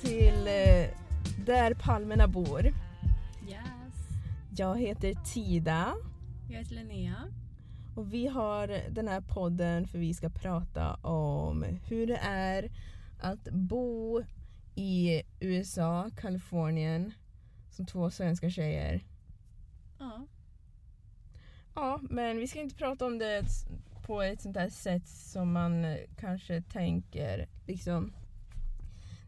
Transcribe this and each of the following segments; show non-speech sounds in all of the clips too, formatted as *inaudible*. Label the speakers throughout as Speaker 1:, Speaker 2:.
Speaker 1: till eh, Där palmerna bor.
Speaker 2: Yes.
Speaker 1: Jag heter Tida
Speaker 2: Jag heter Linnea.
Speaker 1: och vi har den här podden för vi ska prata om hur det är att bo i USA, Kalifornien, som två svenska tjejer.
Speaker 2: Ja.
Speaker 1: Ja, men vi ska inte prata om det s- på ett sånt här sätt som man eh, kanske tänker. Liksom.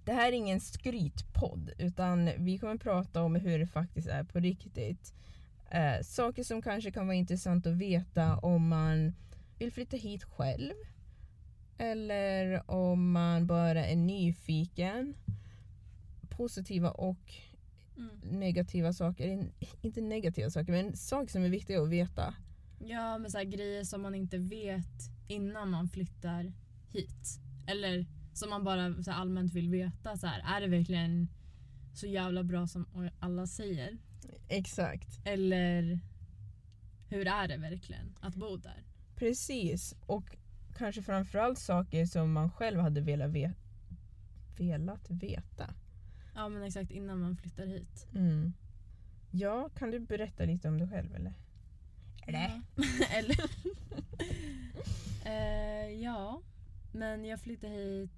Speaker 1: Det här är ingen skrytpodd, utan vi kommer prata om hur det faktiskt är på riktigt. Eh, saker som kanske kan vara intressant att veta om man vill flytta hit själv. Eller om man bara är nyfiken. Positiva och
Speaker 2: Mm.
Speaker 1: negativa saker. In- Inte negativa saker, men saker som är viktiga att veta.
Speaker 2: Ja, men så här, grejer som man inte vet innan man flyttar hit. Eller som man bara så här, allmänt vill veta. Så här, är det verkligen så jävla bra som alla säger?
Speaker 1: Exakt.
Speaker 2: Eller hur är det verkligen att bo där?
Speaker 1: Precis. Och kanske framförallt saker som man själv hade velat, ve- velat veta. Mm.
Speaker 2: Ja, men exakt innan man flyttar hit.
Speaker 1: Ja, kan du berätta lite om dig själv eller? Eller?
Speaker 2: Ja. *laughs* Eller? Eh, ja, men jag flyttade hit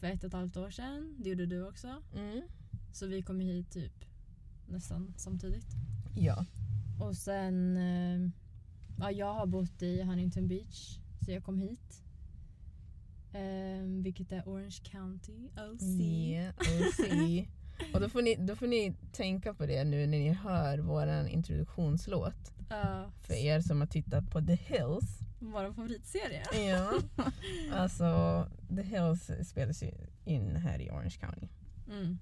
Speaker 2: för ett och ett halvt år sedan. Det gjorde du också.
Speaker 1: Mm.
Speaker 2: Så vi kom hit typ nästan samtidigt.
Speaker 1: Ja.
Speaker 2: Och sen... eh, Ja, jag har bott i Huntington Beach, så jag kom hit. Eh, vilket är Orange County, OC.
Speaker 1: Ja, och se. Och då får, ni, då får ni tänka på det nu när ni hör vår introduktionslåt.
Speaker 2: Ja,
Speaker 1: För er som har tittat på The Hills.
Speaker 2: vår favoritserie.
Speaker 1: Ja. Alltså, The Hills spelas ju in här i Orange County.
Speaker 2: Mm.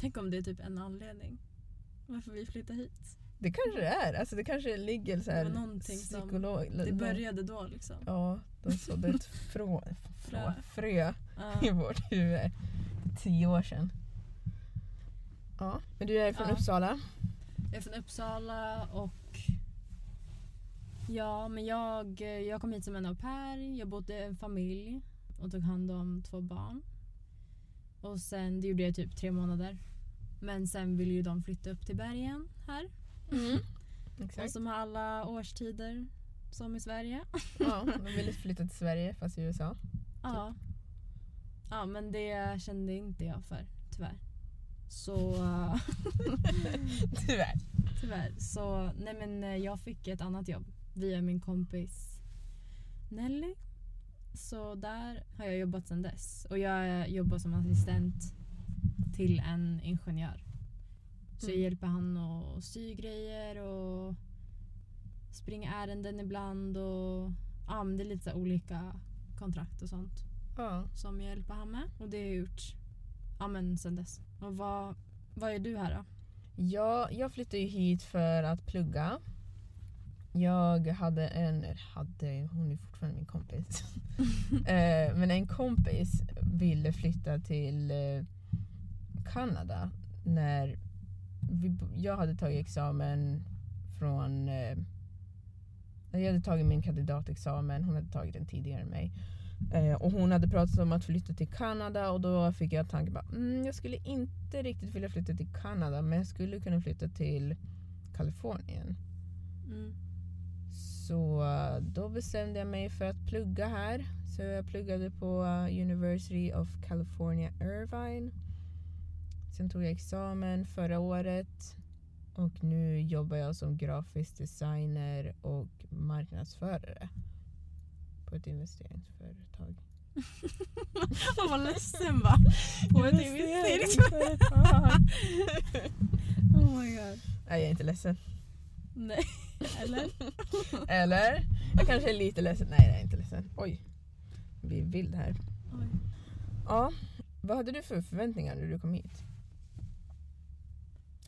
Speaker 2: Tänk om det är typ en anledning varför vi flyttade hit.
Speaker 1: Det kanske det är. Alltså det kanske ligger så här
Speaker 2: Det var någonting som-
Speaker 1: psykolog...
Speaker 2: Det började då liksom.
Speaker 1: Ja, de sådde
Speaker 2: *laughs*
Speaker 1: ett frå, frå,
Speaker 2: Frö.
Speaker 1: frö
Speaker 2: Ja.
Speaker 1: i vårt huvud för tio år sedan. Ja, men du är från
Speaker 2: Ja.
Speaker 1: Uppsala.
Speaker 2: Jag är från Uppsala och ja, men jag, jag kom hit som en au pair. Jag bodde i en familj och tog hand om två barn. Och sen, det gjorde jag typ tre månader. Men sen ville ju de flytta upp till bergen här. Och
Speaker 1: Exakt.
Speaker 2: som har alla årstider som i Sverige.
Speaker 1: Ja, de ville flytta till Sverige fast i USA.
Speaker 2: Ja. Ja, men det kände inte jag för, tyvärr. Så... eh,
Speaker 1: Tyvärr.
Speaker 2: *laughs* Tyvärr. Så nej men eh, jag fick ett annat jobb via min kompis Nelly. Så där har jag jobbat sedan dess. Och jag eh, jobbar som assistent till en ingenjör. Så jag
Speaker 1: Mm.
Speaker 2: hjälper han att sy grejer och springa ärenden ibland och ja, men det är lite så här olika kontrakt och sånt
Speaker 1: Ja.
Speaker 2: som jag hjälper han med. Och det har jag gjort ja, men sedan dess. Och vad, vad är du här då?
Speaker 1: Jag, jag flyttade ju hit för att plugga. Jag hade en, eller hade, hon är fortfarande min kompis. eh, men en kompis ville flytta till eh, Kanada när vi, bo- jag hade tagit examen från... Eh, jag hade tagit min kandidatexamen, hon hade tagit den tidigare än mig. Eh, och hon hade pratat om att flytta till Kanada och då fick jag tanken bara, mm, jag skulle inte riktigt vilja flytta till Kanada men jag skulle kunna flytta till Kalifornien.
Speaker 2: Mm.
Speaker 1: Så eh, då bestämde jag mig för att plugga här. Så jag pluggade på eh, University of California Irvine. Sen tog jag examen förra året och nu jobbar jag som grafisk designer och marknadsförare på ett investeringsföretag.
Speaker 2: Fan vad ledsen
Speaker 1: *laughs*
Speaker 2: va? På ett investerings...
Speaker 1: investeringsföretag.
Speaker 2: *laughs* Oh my god.
Speaker 1: *laughs* Nej, jag är inte ledsen.
Speaker 2: Nej,
Speaker 1: *laughs*
Speaker 2: eller? *laughs*
Speaker 1: Eller? Eh, Jag kanske är lite ledsen. Nej, jag är inte ledsen. Oj. Det blir vild här.
Speaker 2: Oj.
Speaker 1: Ja. Vad hade du för förväntningar när du kom hit?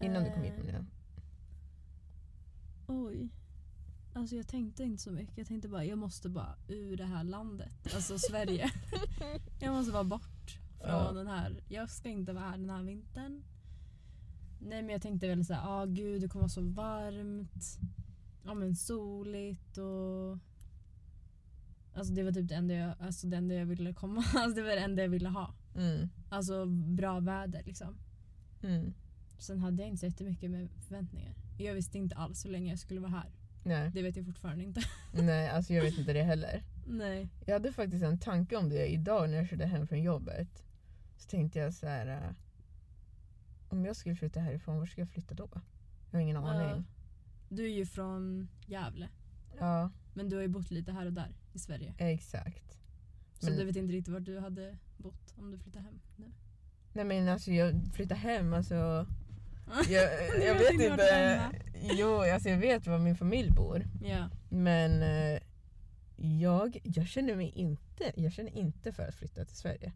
Speaker 1: Innan du kom hit
Speaker 2: Eh.
Speaker 1: menar jag.
Speaker 2: Oj. Alltså jag tänkte inte så mycket. Jag tänkte bara jag måste bara ur det här landet. Alltså Sverige. jag måste vara bort från
Speaker 1: Ja.
Speaker 2: den här. Jag ska inte vara här den här vintern. Nej men jag tänkte väl såhär, ah gud det kommer vara så varmt. Ja men soligt och... *laughs* Alltså det var typ det enda jag, alltså, det enda jag ville komma. Alltså det var det enda jag ville ha.
Speaker 1: Mm.
Speaker 2: Alltså bra väder liksom.
Speaker 1: Mm.
Speaker 2: Sen hade jag inte så jättemycket med förväntningar. Jag visste inte alls hur länge jag skulle vara här.
Speaker 1: Nej.
Speaker 2: Det vet jag fortfarande inte.
Speaker 1: Nej, alltså jag vet inte det heller.
Speaker 2: Nej.
Speaker 1: Jag hade faktiskt en tanke om det idag när jag körde hem från jobbet. Så tänkte jag så här. eh, om jag skulle flytta härifrån, var ska jag flytta då? Jag har ingen aning.
Speaker 2: Du är ju från Gävle.
Speaker 1: Ja,
Speaker 2: Men du har ju bott lite här och där i Sverige.
Speaker 1: exakt.
Speaker 2: Så
Speaker 1: Men-
Speaker 2: du vet inte riktigt var du hade bott om du flyttar hem nu.
Speaker 1: Nej men alltså jag flyttar hem
Speaker 2: *laughs*
Speaker 1: alltså. Jag,
Speaker 2: Du
Speaker 1: jag
Speaker 2: vet
Speaker 1: vet
Speaker 2: inte
Speaker 1: inte.
Speaker 2: vart du är hemma.
Speaker 1: Jo, alltså jag vet var min familj bor.
Speaker 2: Ja.
Speaker 1: Men eh, jag, jag känner mig inte, jag känner inte för att flytta till Sverige.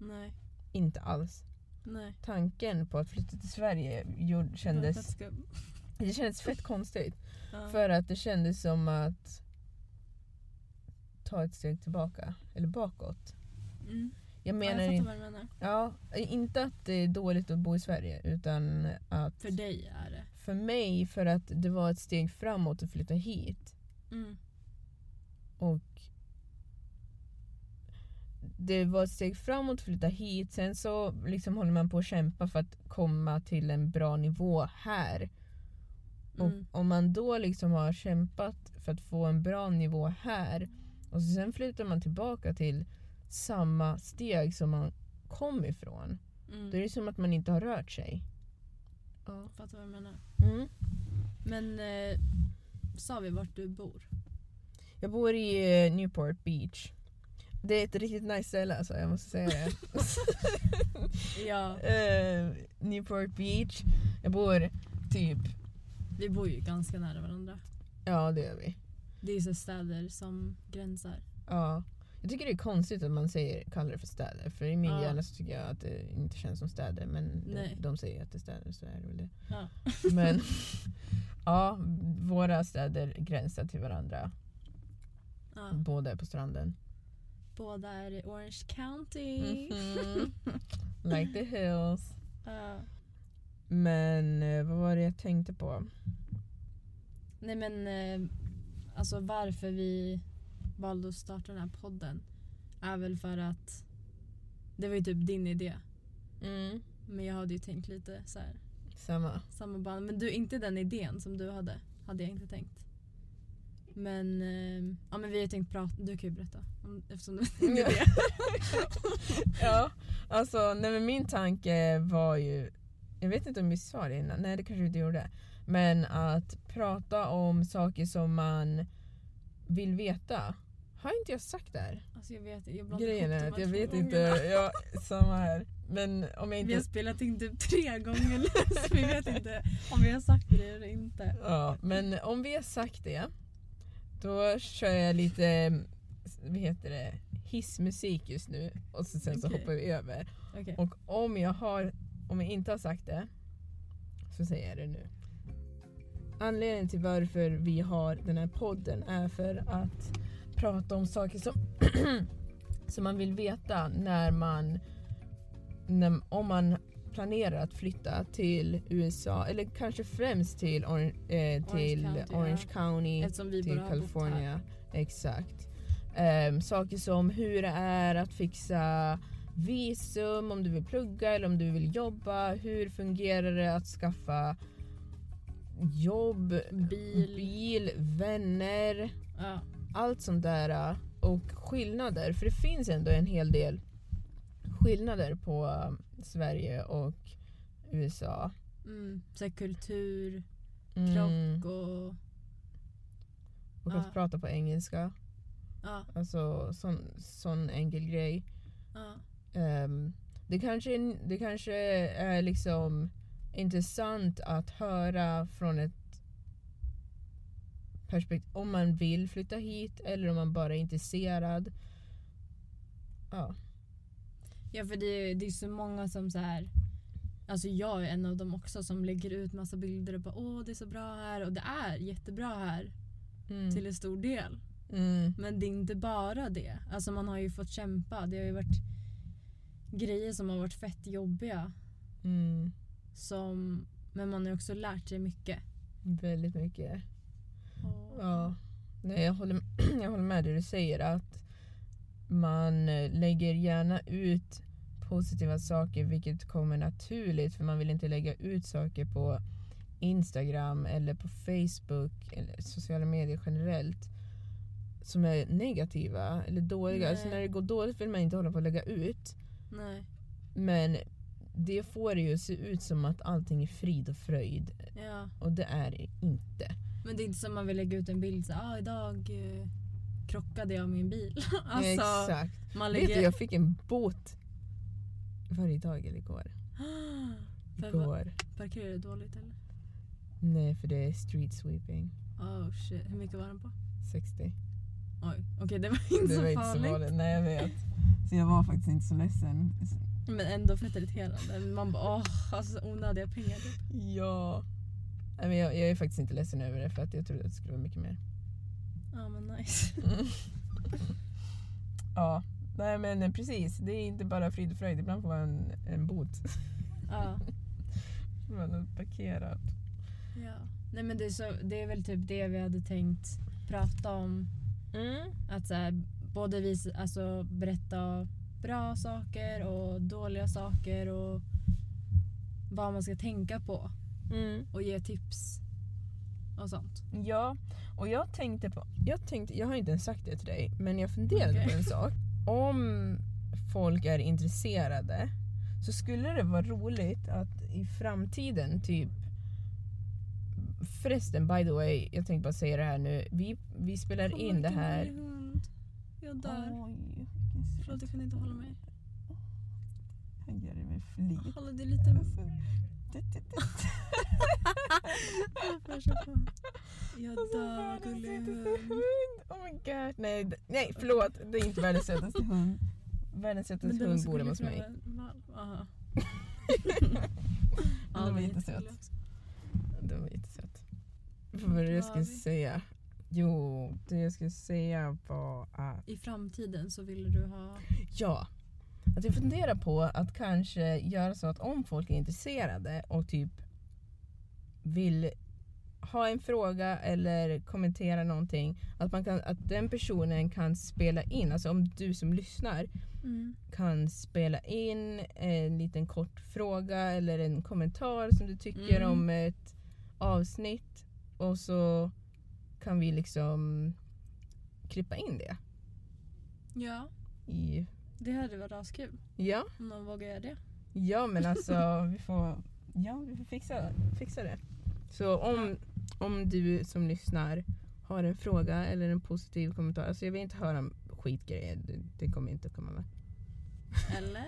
Speaker 2: Nej.
Speaker 1: Inte alls.
Speaker 2: Nej.
Speaker 1: Tanken på att flytta till Sverige gjorde,
Speaker 2: För att
Speaker 1: kändes,
Speaker 2: ska-
Speaker 1: det kändes fett konstigt.
Speaker 2: Ja.
Speaker 1: För att det kändes som att ta ett steg tillbaka, eller bakåt.
Speaker 2: Mm.
Speaker 1: Jag
Speaker 2: Ja,
Speaker 1: menar
Speaker 2: jag
Speaker 1: in-
Speaker 2: fattar vad du menar.
Speaker 1: ja, inte att det är dåligt att bo i Sverige utan att
Speaker 2: För dig är det.
Speaker 1: för mig för att det var ett steg framåt att flytta hit.
Speaker 2: Mm.
Speaker 1: Och det var ett steg framåt att flytta hit. Sen så liksom håller man på att kämpa för att komma till en bra nivå här.
Speaker 2: Mm.
Speaker 1: Och om man då liksom har kämpat för att få en bra nivå här och så sen flyttar man tillbaka till samma steg som man kom ifrån.
Speaker 2: Mm.
Speaker 1: Då är det som att man inte har rört sig. Ja.
Speaker 2: Fattar vad du menar.
Speaker 1: Mm.
Speaker 2: Men eh, sa vi vart du bor?
Speaker 1: Jag bor i eh, Newport Beach. Det är ett riktigt nice ställe alltså, jag måste säga
Speaker 2: *laughs*
Speaker 1: det.
Speaker 2: Ja,
Speaker 1: Eh, Newport Beach. Jag bor typ,
Speaker 2: vi bor ju ganska nära varandra.
Speaker 1: ja det gör vi.
Speaker 2: Det är ju så städer som gränsar.
Speaker 1: Ja. Jag tycker det är konstigt att man säger, kallar det för städer. För i min
Speaker 2: Ja.
Speaker 1: hjärna så tycker jag att det inte känns som städer. Men
Speaker 2: Nej.
Speaker 1: de, de säger att det är städer så är det väl det.
Speaker 2: Ja.
Speaker 1: *laughs*
Speaker 2: *laughs*
Speaker 1: Men ja, våra städer gränsar till varandra.
Speaker 2: Ja.
Speaker 1: Båda är på stranden.
Speaker 2: Båda är i Orange County.
Speaker 1: Mhm. *laughs* Like the hills.
Speaker 2: Ja.
Speaker 1: Men eh, vad var det jag tänkte på?
Speaker 2: Nej men eh, alltså varför vi valde att starta den här podden är väl för att det var ju typ din idé.
Speaker 1: Mm.
Speaker 2: Men jag hade ju tänkt lite så här,
Speaker 1: Samma.
Speaker 2: samma band. Men du, inte den idén som du hade, hade jag inte tänkt. Men, eh, ja, men vi har tänkt prata, du kan ju berätta. Om, eftersom du
Speaker 1: Ja. ja, alltså nej, men min tanke var ju, jag vet inte om vi sa det innan, nej det kanske vi inte gjorde. Men att prata om saker som man vill veta. Har inte jag sagt det här?
Speaker 2: *laughs* alltså jag vet jag blandar
Speaker 1: Grejen
Speaker 2: ihop de
Speaker 1: är att
Speaker 2: här
Speaker 1: jag
Speaker 2: två
Speaker 1: vet inte,
Speaker 2: gångerna.
Speaker 1: jag, samma här. Men om jag
Speaker 2: Vi har
Speaker 1: inte...
Speaker 2: spelat in typ tre gånger nu, *laughs* så vi vet inte om vi har sagt det eller inte.
Speaker 1: Ja, men om vi har sagt det, då kör jag lite, vad heter det, hissmusik just nu och så, sen så
Speaker 2: Okej.
Speaker 1: hoppar vi över.
Speaker 2: Okej.
Speaker 1: Och om jag, har, om jag inte har sagt det så säger jag det nu. Anledningen till varför vi har den här podden är för att prata om saker som, *clears throat* som man vill veta när man, när, om man planerar att flytta till USA eller kanske främst till, Or- eh, till
Speaker 2: County, ja.
Speaker 1: Orange County
Speaker 2: Eftersom vi
Speaker 1: till
Speaker 2: bara har bott här.
Speaker 1: California. Exakt. Ehm, saker som hur det är att fixa visum om du vill plugga eller om du vill jobba. Hur fungerar det att skaffa jobb,
Speaker 2: Bil.
Speaker 1: bil vänner,
Speaker 2: Ja.
Speaker 1: allt sånt där. eh, Och skillnader, för det finns ändå en hel del skillnader på eh, Sverige och USA.
Speaker 2: Mm. Så här kultur,
Speaker 1: Mm,
Speaker 2: krock och...
Speaker 1: och
Speaker 2: ja.
Speaker 1: att prata på engelska,
Speaker 2: Ja,
Speaker 1: alltså sån, sån enkel grej.
Speaker 2: ja,
Speaker 1: Ehm, det, kanske, det kanske är liksom intressant att höra från ett perspektiv om man vill flytta hit eller om man bara är intresserad. Ja.
Speaker 2: ja för det är, det är så många som så här... Alltså jag är en av dem också som lägger ut massa bilder och bara åh det är så bra här och det är jättebra här
Speaker 1: Mm.
Speaker 2: till en stor del.
Speaker 1: Mm.
Speaker 2: Men det är inte bara det. Alltså man har ju fått kämpa. Det har ju varit grejer som har varit fett jobbiga.
Speaker 1: Mm.
Speaker 2: Som, men man har ju också lärt sig mycket.
Speaker 1: Väldigt mycket.
Speaker 2: Och,
Speaker 1: Ja. Nej, jag, håller, *clears throat* jag håller med det du säger att man eh, lägger gärna ut positiva saker vilket kommer naturligt för man vill inte lägga ut saker på Instagram eller på Facebook eller sociala medier generellt som är negativa eller dåliga.
Speaker 2: Nej.
Speaker 1: Alltså när det går dåligt vill man inte hålla på att lägga ut
Speaker 2: Nej.
Speaker 1: men det får det ju se ut som att allting är frid och fröjd
Speaker 2: Ja.
Speaker 1: och det är det inte.
Speaker 2: Men det är inte som man vill lägga ut en bild så ah, idag eh, krockade jag med en bil. *laughs* alltså,
Speaker 1: Exakt.
Speaker 2: man
Speaker 1: Vet du,
Speaker 2: lägger...
Speaker 1: jag fick en bot. Var det idag eller igår?
Speaker 2: *gasps* För vad-
Speaker 1: Igår.
Speaker 2: Parkerar du dåligt eller?
Speaker 1: Nej, för det är street sweeping.
Speaker 2: Oh shit, hur mycket var den på?
Speaker 1: 60.
Speaker 2: Oj, okej det var inte
Speaker 1: Det
Speaker 2: så
Speaker 1: var
Speaker 2: farligt.
Speaker 1: inte så farligt. Nej, jag vet. Så jag var faktiskt inte så ledsen.
Speaker 2: Men ändå fett irriterande. Man bara åh, alltså onödiga pengar. typ.
Speaker 1: Ja. Nej, men jag, jag är faktiskt inte ledsen över det för att jag trodde att det skulle vara mycket mer.
Speaker 2: Ja men nice. *laughs*
Speaker 1: Ja. Nej men eh, precis, det är inte bara frid och fröjd. Ibland får man en, en bot
Speaker 2: Ja.
Speaker 1: för *laughs* man har parkerat.
Speaker 2: ja. Nej men det är, så, det är väl typ det vi hade tänkt prata om.
Speaker 1: Mm.
Speaker 2: Att så här, både vi, alltså, berätta bra saker och dåliga saker och vad man ska tänka på
Speaker 1: Mm.
Speaker 2: och ge tips och sånt.
Speaker 1: Ja, och jag tänkte på... Jag, tänkte, jag har inte ens sagt det till dig, men jag funderade
Speaker 2: Okej.
Speaker 1: på en sak. Om folk är intresserade så skulle det vara roligt att i framtiden typ... Förresten, by the way, jag tänkte bara säga det här nu. Vi, vi spelar in det här...
Speaker 2: Vilken hund. Jag dör.
Speaker 1: Oj, vilken söt
Speaker 2: Förlåt jag kunde inte hålla mig.
Speaker 1: Han gör det med flit.
Speaker 2: Hålla det lite...
Speaker 1: Alltså, du, du, du.
Speaker 2: Jag
Speaker 1: Alltså,
Speaker 2: dör
Speaker 1: världens
Speaker 2: gullig hund.
Speaker 1: sötaste hund! Oh my god. Nej, d- nej förlåt. Det är inte världens sötaste hund. Världens sötaste hund bor hemma hos mig. *laughs*
Speaker 2: Aha.
Speaker 1: Den var jättesöt. Den var jättesöt. Vad var det jag
Speaker 2: Vart var
Speaker 1: skulle
Speaker 2: vi?
Speaker 1: säga? Jo, det jag skulle säga var att...
Speaker 2: I framtiden så vill du ha...
Speaker 1: Ja. Att jag funderar på att kanske göra så att om folk är intresserade och typ vill ha en fråga eller kommentera någonting. Att, man kan, att den personen kan spela in, alltså om du som lyssnar Mm. kan spela in eh, en liten kort fråga eller en kommentar som du tycker
Speaker 2: Mm.
Speaker 1: om ett avsnitt och så kan vi liksom klippa in det
Speaker 2: Ja,
Speaker 1: i...
Speaker 2: det hade varit askul
Speaker 1: Ja,
Speaker 2: om någon vågar göra *laughs* det.
Speaker 1: ja men alltså vi får, ja, vi får fixa, fixa det. Så om, om du som lyssnar har en fråga eller en positiv kommentar, alltså jag vill inte höra om skitgrejer, det, det kommer inte att komma med.
Speaker 2: Eller?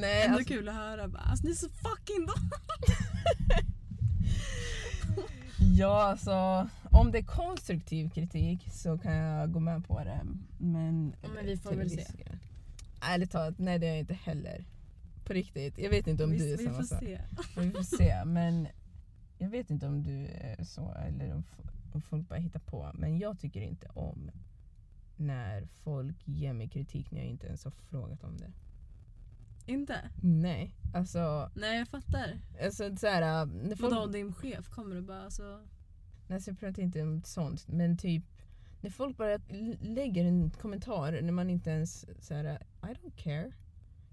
Speaker 1: Nej,
Speaker 2: Ändå
Speaker 1: alltså-
Speaker 2: kul att höra bara, alltså, ni är så fucking då.
Speaker 1: Ja, alltså om det är konstruktiv kritik så kan jag gå med på det. Men,
Speaker 2: Ja, men vi får väl se.
Speaker 1: Ärligt talat, nej det är jag inte heller. På riktigt. Jag vet inte om du
Speaker 2: Vi,
Speaker 1: är
Speaker 2: vi
Speaker 1: samma
Speaker 2: får
Speaker 1: sak.
Speaker 2: se.
Speaker 1: Vi får se. Men jag vet inte om du är så eller om, f- om folk bara hittar på. Men jag tycker inte om när folk ger mig kritik när jag inte ens har frågat om det.
Speaker 2: Inte?
Speaker 1: Nej, alltså...
Speaker 2: Nej jag fattar.
Speaker 1: alltså så här, när folk...
Speaker 2: Vadå om din chef kommer och bara alltså...
Speaker 1: Nej, alltså jag pratar inte om sånt, men typ när folk bara l- lägger en kommentar när man inte ens säger I don't care.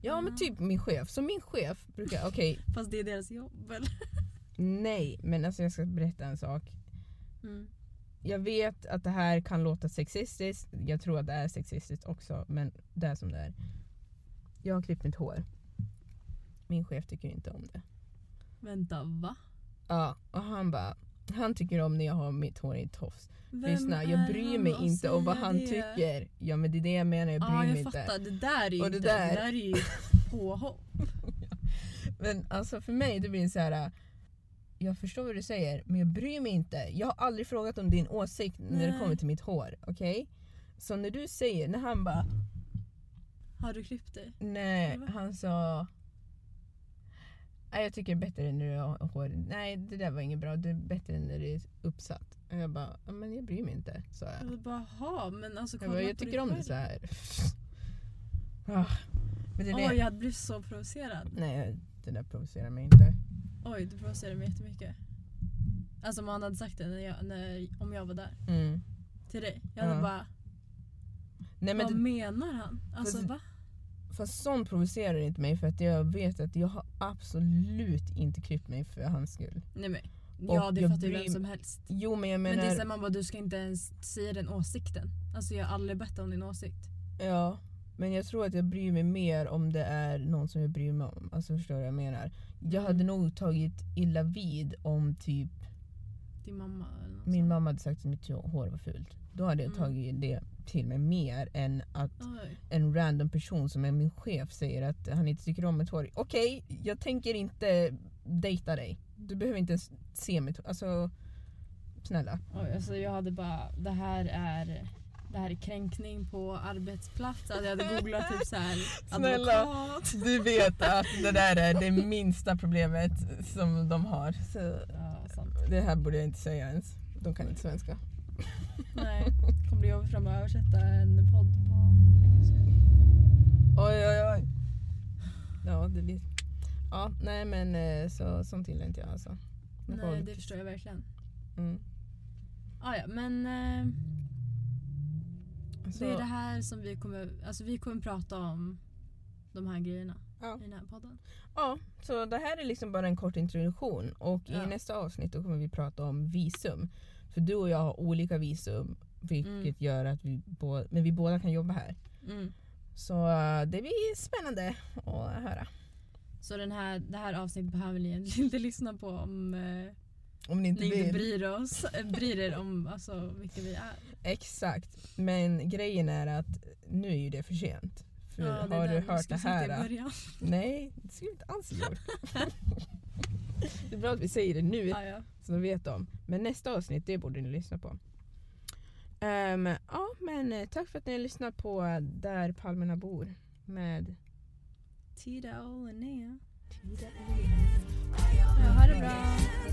Speaker 1: Ja men
Speaker 2: Ja.
Speaker 1: typ min chef, så min chef brukar, okej
Speaker 2: Fast det är deras jobb eller?
Speaker 1: nej men alltså jag ska berätta en sak.
Speaker 2: Mm.
Speaker 1: Jag vet att det här kan låta sexistiskt, jag tror att det är sexistiskt också men det är som det är. Jag har klippt mitt hår. Min chef tycker inte om det.
Speaker 2: Vänta va?
Speaker 1: Ja och han bara, han tycker om när jag har mitt hår i en tofs.
Speaker 2: Vem
Speaker 1: Lyssna,
Speaker 2: är
Speaker 1: jag bryr
Speaker 2: han
Speaker 1: mig
Speaker 2: att
Speaker 1: inte om vad
Speaker 2: säga
Speaker 1: han
Speaker 2: det?
Speaker 1: tycker. Ja men det är det jag menar, jag bryr
Speaker 2: Ja, jag
Speaker 1: mig inte.
Speaker 2: fattar. Det där är ju
Speaker 1: Och det
Speaker 2: inte,
Speaker 1: där-
Speaker 2: det där är ju *laughs* påhopp.
Speaker 1: Men alltså för mig det blir det så här. äh, Jag förstår vad du säger men jag bryr mig inte. Jag har aldrig frågat om din åsikt när det
Speaker 2: Nej.
Speaker 1: kommer till mitt hår. Okej? Så när du säger, när han bara
Speaker 2: Har du klippt dig?
Speaker 1: nej,
Speaker 2: Va?
Speaker 1: han sa Nej jag tycker det är bättre när du har hår. Nej det där var inget bra, det är bättre när det är uppsatt. Och jag bara, "Ja, men jag bryr mig inte sa jag.
Speaker 2: Jag vill bara, "Jaha, men alltså
Speaker 1: Jag,
Speaker 2: kolla
Speaker 1: bara, jag
Speaker 2: på dig
Speaker 1: tycker om det
Speaker 2: själv."
Speaker 1: så här. *laughs* Ah, men det är det.
Speaker 2: Oj, jag hade blivit så provocerad.
Speaker 1: Nej, det där provocerar mig inte.
Speaker 2: Oj, du provocerade mig jättemycket. Alltså om han hade sagt det när jag, när, om jag var där. Till dig. Jag hade
Speaker 1: Ja.
Speaker 2: bara,
Speaker 1: Nej, men
Speaker 2: vad
Speaker 1: det,
Speaker 2: menar han? Alltså
Speaker 1: Fast-
Speaker 2: va?
Speaker 1: Fast sånt provocerar inte mig för att jag vet att jag har absolut inte klippt mig för hans skull.
Speaker 2: Nej, men, ja, det
Speaker 1: jag
Speaker 2: fattar ju
Speaker 1: bryr
Speaker 2: vem som helst.
Speaker 1: Jo men jag
Speaker 2: Men,
Speaker 1: menar...
Speaker 2: det är såhär, man bara, du ska inte ens säga den åsikten. Alltså jag har aldrig bett om din åsikt.
Speaker 1: Ja, men jag tror att jag bryr mig mer om det är någon som jag bryr mig om. Alltså förstår du vad jag menar? Jag hade
Speaker 2: Mm.
Speaker 1: nog tagit illa vid om typ
Speaker 2: Din mamma eller något
Speaker 1: min
Speaker 2: sånt.
Speaker 1: mamma hade sagt att mitt hår var fult. Då hade jag
Speaker 2: Mm.
Speaker 1: tagit det till mig mer än att
Speaker 2: Oj.
Speaker 1: en random person som är min chef säger att han inte tycker om mitt hår. Okej, jag tänker inte dejta dig. Du behöver inte ens se mitt hår. Alltså, snälla.
Speaker 2: Oj, alltså jag hade bara, det här är det här är kränkning på arbetsplats. Alltså jag hade googlat typ *laughs* såhär
Speaker 1: Snälla.
Speaker 2: advokat.
Speaker 1: Du vet att det där är det minsta problemet som de har. Så
Speaker 2: Ja, sant.
Speaker 1: Det här borde jag inte säga ens. De kan inte svenska.
Speaker 2: Nej, *laughs* kommer bli jobbigt framöver att översätta en podd på engelska.
Speaker 1: Oj, oj, oj. Ja, det blir... Ja, nej men eh, så, sånt gillar inte jag alltså. Men
Speaker 2: Nej,
Speaker 1: folk-
Speaker 2: det förstår jag verkligen.
Speaker 1: Mm.
Speaker 2: Ah, ja, men eh,
Speaker 1: Så,
Speaker 2: det är det här som vi kommer, alltså vi kommer prata om de här grejerna
Speaker 1: Ja.
Speaker 2: i den här podden.
Speaker 1: Ja, så det här är liksom bara en kort introduktion och
Speaker 2: Ja.
Speaker 1: i nästa avsnitt då kommer vi prata om visum. För du och jag har olika visum vilket
Speaker 2: Mm.
Speaker 1: gör att vi, bå- men vi båda kan jobba här.
Speaker 2: Mm.
Speaker 1: Så eh, det blir spännande att höra.
Speaker 2: Så den här, det här avsnittet behöver ni egentligen inte lyssna på om eh,
Speaker 1: Om ni inte
Speaker 2: ni inte
Speaker 1: vill.
Speaker 2: bryr, oss, eh, bryr er om alltså, vilka vi är.
Speaker 1: Exakt, men grejen är att nu är ju det för sent. För
Speaker 2: Ja, det är
Speaker 1: har du
Speaker 2: där vi
Speaker 1: hört det
Speaker 2: skulle sitta i
Speaker 1: här? äh? eh?
Speaker 2: början.
Speaker 1: Nej, det skulle jag inte alls
Speaker 2: *laughs*
Speaker 1: ha gjort. det är bra att vi säger det nu
Speaker 2: Ja, ja.
Speaker 1: så de vet de. Men nästa avsnitt, det borde ni lyssna på. Ehm, ja, men eh, tack för att ni har lyssnat på eh, Där palmerna bor med
Speaker 2: Tida och Linnea. Ja, ha det bra.